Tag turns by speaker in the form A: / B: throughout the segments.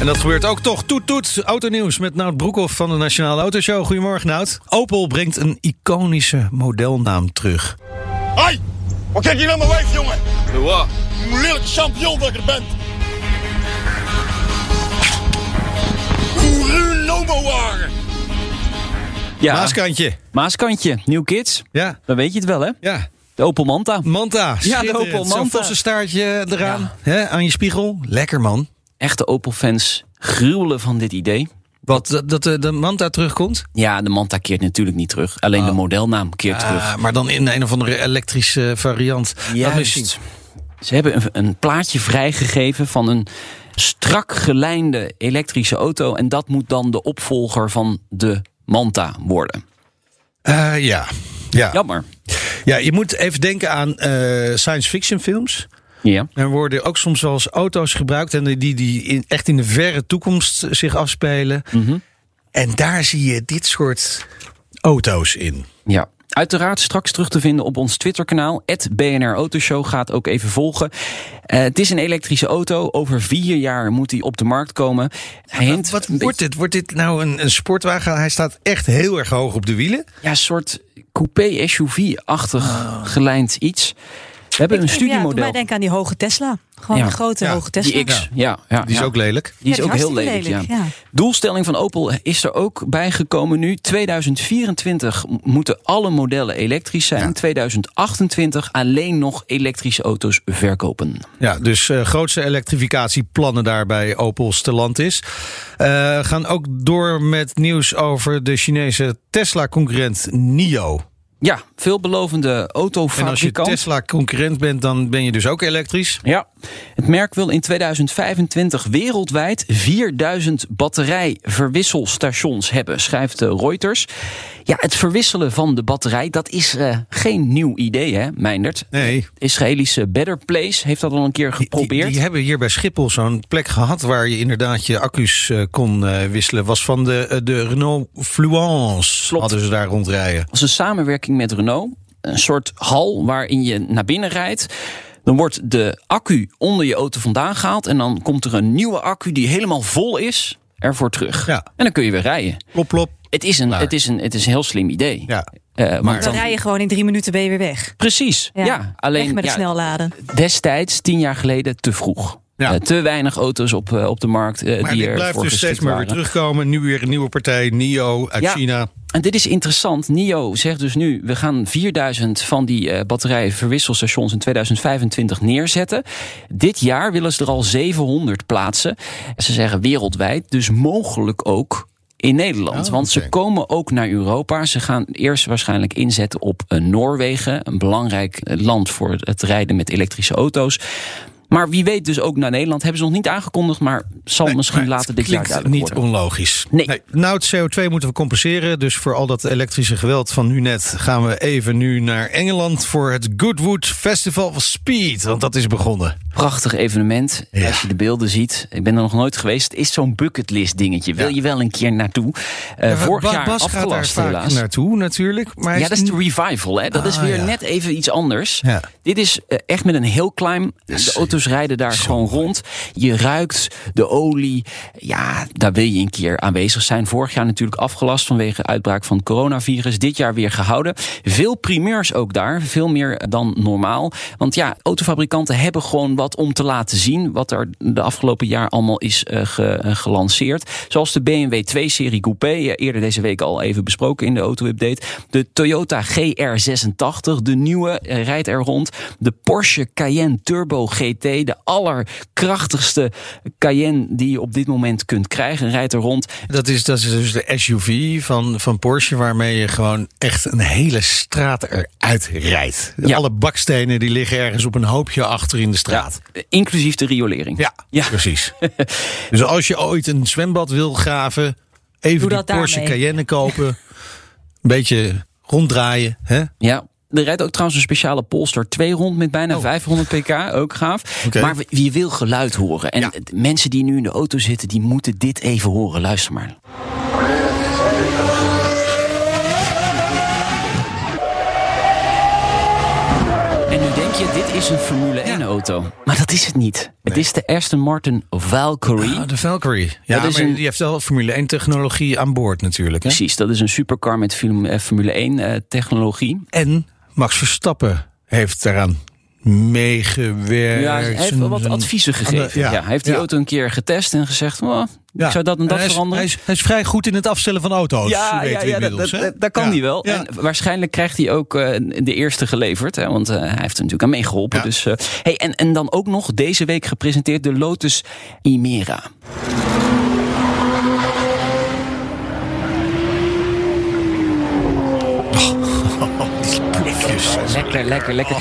A: En dat gebeurt ook toch. Toet toet, autonieuws met Nout Broekhoff van de Nationale Autoshow. Goedemorgen Nout. Opel brengt een iconische modelnaam terug.
B: Hoi! Wat kijk je naar mijn wijf, jongen? Wat? Een lelijke champignon dat je er bent. Coureur Nobowagen.
C: Ja,
A: Maaskantje.
C: Maaskantje, New Kids.
A: Ja,
C: Dan weet je het wel, hè?
A: ja.
C: De Opel Manta.
A: Manta. schitterend.
C: Opel
A: Zo'n
C: Manta.
A: vossenstaartje eraan. Hè, aan je spiegel. Lekker man.
C: Echte Opel-fans gruwelen van dit idee.
A: Wat, dat, dat de, de Manta terugkomt?
C: Ja, de Manta keert natuurlijk niet terug. Alleen de modelnaam keert terug.
A: Oh. Ah, maar dan in een of andere elektrische variant. Dat moet je zien.
C: Juist. Ze hebben een, een plaatje vrijgegeven van een strak gelijnde elektrische auto. En dat moet dan de opvolger van de Manta worden.
A: Eh, ja. Ja. Ja.
C: Jammer.
A: je moet even denken aan eh, science fiction films.
C: Ja.
A: Er worden ook soms wel eens auto's gebruikt en die, die in, echt in de verre toekomst zich afspelen.
C: Mhm.
A: En daar zie je dit soort auto's in.
C: Ja. Uiteraard straks terug te vinden op ons Twitterkanaal. Het BNR Autoshow gaat ook even volgen. Eh, het is een elektrische auto. Over vier jaar moet die op de markt komen. Hij hint
A: Wat
C: een
A: wordt dit? Wordt dit nou een, een sportwagen? Hij staat echt heel erg hoog op de wielen.
C: beetje- Ja, een soort coupé-SUV-achtig
A: Oh.
C: gelijnd iets. We hebben een
D: Ja, doe
C: studiemodel.
D: mij denken aan die hoge Tesla. Gewoon
C: Ja.
D: die grote
A: Ja,
D: hoge Tesla.
C: die X. Ja, ja,
A: Die is
C: ja.
A: ook lelijk.
C: Die is
D: Ja,
C: ook
D: die is
C: heel
D: hartstikke
C: lelijk.
D: lelijk,
C: ja.
D: ja.
C: Doelstelling van Opel is er ook bijgekomen nu. 2024 m- moeten alle modellen elektrisch zijn. 2028 alleen nog elektrische auto's verkopen.
A: Ja, dus eh, grootste elektrificatieplannen daarbij Opel Stellantis. Eh gaan ook door met nieuws over de Chinese Tesla-concurrent NIO.
C: Ja, veelbelovende
A: En als je
C: autofabrikant.
A: Tesla-concurrent bent, dan ben je dus ook elektrisch.
C: Ja, het merk wil in 2025 wereldwijd 4000 batterijverwisselstations hebben, schrijft eh, Reuters. Ja, het verwisselen van de batterij, dat is eh, geen nieuw idee, hè, Meindert?
A: Nee.
C: Het Israëlische Better Place heeft dat al een keer geprobeerd.
A: Die, die hebben hier bij Schiphol zo'n plek gehad waar je inderdaad je accu's eh, kon eh, wisselen. Was van de, eh, de Renault Fluence.
C: Klopt.
A: Hadden ze daar rondrijden.
C: als een samenwerking met Renault. Een soort hal waarin je naar binnen rijdt. Dan wordt de accu onder je auto vandaan gehaald. En dan komt er een nieuwe accu die helemaal vol is ervoor terug.
A: Ja.
C: En dan kun je weer rijden.
A: Plop, plop.
C: Het is een, het is een, het is een heel slim idee.
A: Ja.
C: Eh,
D: Dan
C: want dan,
D: rij je gewoon in drie minuten ben je weer weg.
C: precies. Ja. alleen
D: Weg met de
C: ja,
D: snelladen.
C: destijds, tien jaar geleden, te vroeg.
A: Ja.
C: Eh, te weinig auto's op, eh, op de markt eh,
A: Maar
C: die
A: dit
C: er
A: blijft
C: voor
A: dus steeds maar weer terugkomen. Nu weer een nieuwe partij, NIO uit
C: Ja.
A: China.
C: En dit is interessant. NIO zegt dus nu: we gaan 4000 van die eh batterijverwisselstations in 2025 neerzetten. Dit jaar willen ze er al 700 plaatsen. En ze zeggen wereldwijd, dus mogelijk ook. In Nederland.
A: Oh,
C: Want ze
A: oké.
C: komen ook naar Europa. Ze gaan eerst waarschijnlijk inzetten op eh, Noorwegen. Een belangrijk eh, land voor het rijden met elektrische auto's. Maar wie weet dus ook naar Nederland. Hebben ze nog niet aangekondigd. Maar zal misschien
A: Maar het
C: later dit jaar
A: klinkt
C: duidelijk
A: niet
C: worden.
A: onlogisch.
C: Nee.
A: Nou, het CO2 moeten we compenseren. Dus voor al dat elektrische geweld van nu net... gaan we even nu naar Engeland voor het Goodwood Festival of Speed. Want dat is begonnen.
C: Prachtig evenement.
A: Ja.
C: Als je de beelden ziet. Ik ben er nog nooit geweest. Het is zo'n bucketlist dingetje. Wil
A: Ja.
C: je wel een keer naartoe? Eh vorig
A: Ba-
C: jaar
A: Bas gaat daar
C: afgelast
A: vaak
C: helaas.
A: naartoe natuurlijk. Maar hij
C: Ja, dat is
A: niet-
C: de revival. Hè? Dat is
A: Ah,
C: weer
A: ja.
C: net even iets anders.
A: Ja.
C: Dit is eh, echt met een heel climb. De auto's rijden daar gewoon rond. Je ruikt de olie. Ja, daar wil je een keer aanwezig zijn. Vorig jaar natuurlijk afgelast vanwege uitbraak van het coronavirus. Dit jaar weer gehouden. Veel primeurs ook daar. Veel meer dan normaal. Want ja, autofabrikanten hebben gewoon wat om te laten zien. Wat er de afgelopen jaar allemaal is eh, ge- eh, gelanceerd. Zoals de BMW 2-serie Coupé. eh, Eerder deze week al even besproken in de auto-update. De Toyota GR86, de nieuwe, eh, rijdt er rond. De Porsche Cayenne Turbo GT, de allerkrachtigste Cayenne die je op dit moment kunt krijgen, rijdt er rond.
A: Dat is, dat is dus de SUV van, van Porsche, waarmee je gewoon echt een hele straat eruit rijdt.
C: Ja.
A: Alle bakstenen die liggen ergens op een hoopje achter in de straat.
C: Eh, Inclusief de riolering.
A: Ja,
C: Ja.
A: precies. dus als je ooit een zwembad wil graven, even
D: Doe
A: die
D: dat daarmee.
A: Porsche Cayenne kopen. een beetje ronddraaien. Hè?
C: Ja, Er rijdt ook trouwens een speciale Polestar 2 rond met bijna 500 pk. Ook gaaf.
A: Oh. Oké.
C: Maar je wil geluid horen. En
A: Ja.
C: het- mensen die nu in de auto zitten, die moeten dit even horen. Luister maar. En nu denk je, dit is een Formule 1 auto. Maar dat is het niet. Het is de Aston Martin Valkyrie.
A: Ah, de Valkyrie. Ja,
C: Dat is
A: maar
C: een-
A: die heeft wel Formule 1 technologie aan boord natuurlijk. Hè?
C: Precies, dat is een supercar met film- eh, Formule 1 eh, technologie.
A: En Max Verstappen heeft daaraan meegewerkt.
C: Ja, hij heeft wel wat
A: Eh, Zijn-
C: adviezen gegeven.
A: ja.
C: Ja, hij heeft die
A: Ja.
C: auto een keer getest en gezegd: "Oh,
A: Ja.
C: ik zou dat en
A: En
C: dat
A: hij is-
C: veranderen.
A: Hij is, oh, hij is vrij goed in het afstellen van auto's.
C: ja,
A: weten
C: ja,
A: we
C: ja dat,
A: inmiddels,
C: dat,
A: hè?
C: dat- dat kan
A: Ja.
C: hij wel.
A: Ja.
C: En waarschijnlijk krijgt hij ook eh, de eerste geleverd. Hè, want eh, hij heeft er natuurlijk aan meegeholpen.
A: Ja.
C: Dus, eh, hey, en, en dan ook nog deze week gepresenteerd de Lotus Imera. Lekker, lekker, lekker.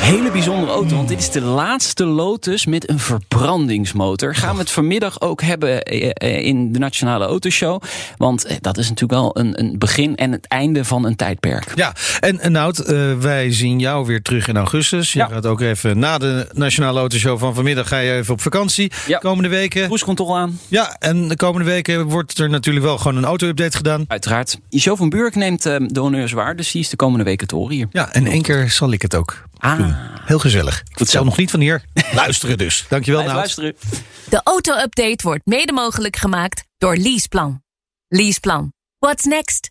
C: Hele bijzondere auto, want dit is de laatste Lotus met een verbrandingsmotor. Gaan we het vanmiddag ook hebben eh, eh, in de Nationale Autoshow. Want eh, dat is natuurlijk wel een, een begin en het einde van een tijdperk.
A: Ja, en en Nout, eh, wij zien jou weer terug in augustus. Je
C: Ja.
A: gaat ook even na de Nationale Autoshow van vanmiddag ga je even op vakantie.
C: Ja.
A: Komende weken.
C: Cruise control aan,
A: Ja, en de komende weken wordt er natuurlijk wel gewoon een auto-update gedaan.
C: uiteraard. Jo van Burk neemt eh, de honneurs waar, dus die is de komende weken te horen hier.
A: Ja, en één keer zal ik het ook
C: Ah.
A: doen. Heel gezellig. Ik vertel nog niet van hier. Luisteren dus. Dankjewel,
C: Blijf
A: Nout.
C: luisteren.
E: De auto-update wordt mede mogelijk gemaakt door Leaseplan. Leaseplan. What's next?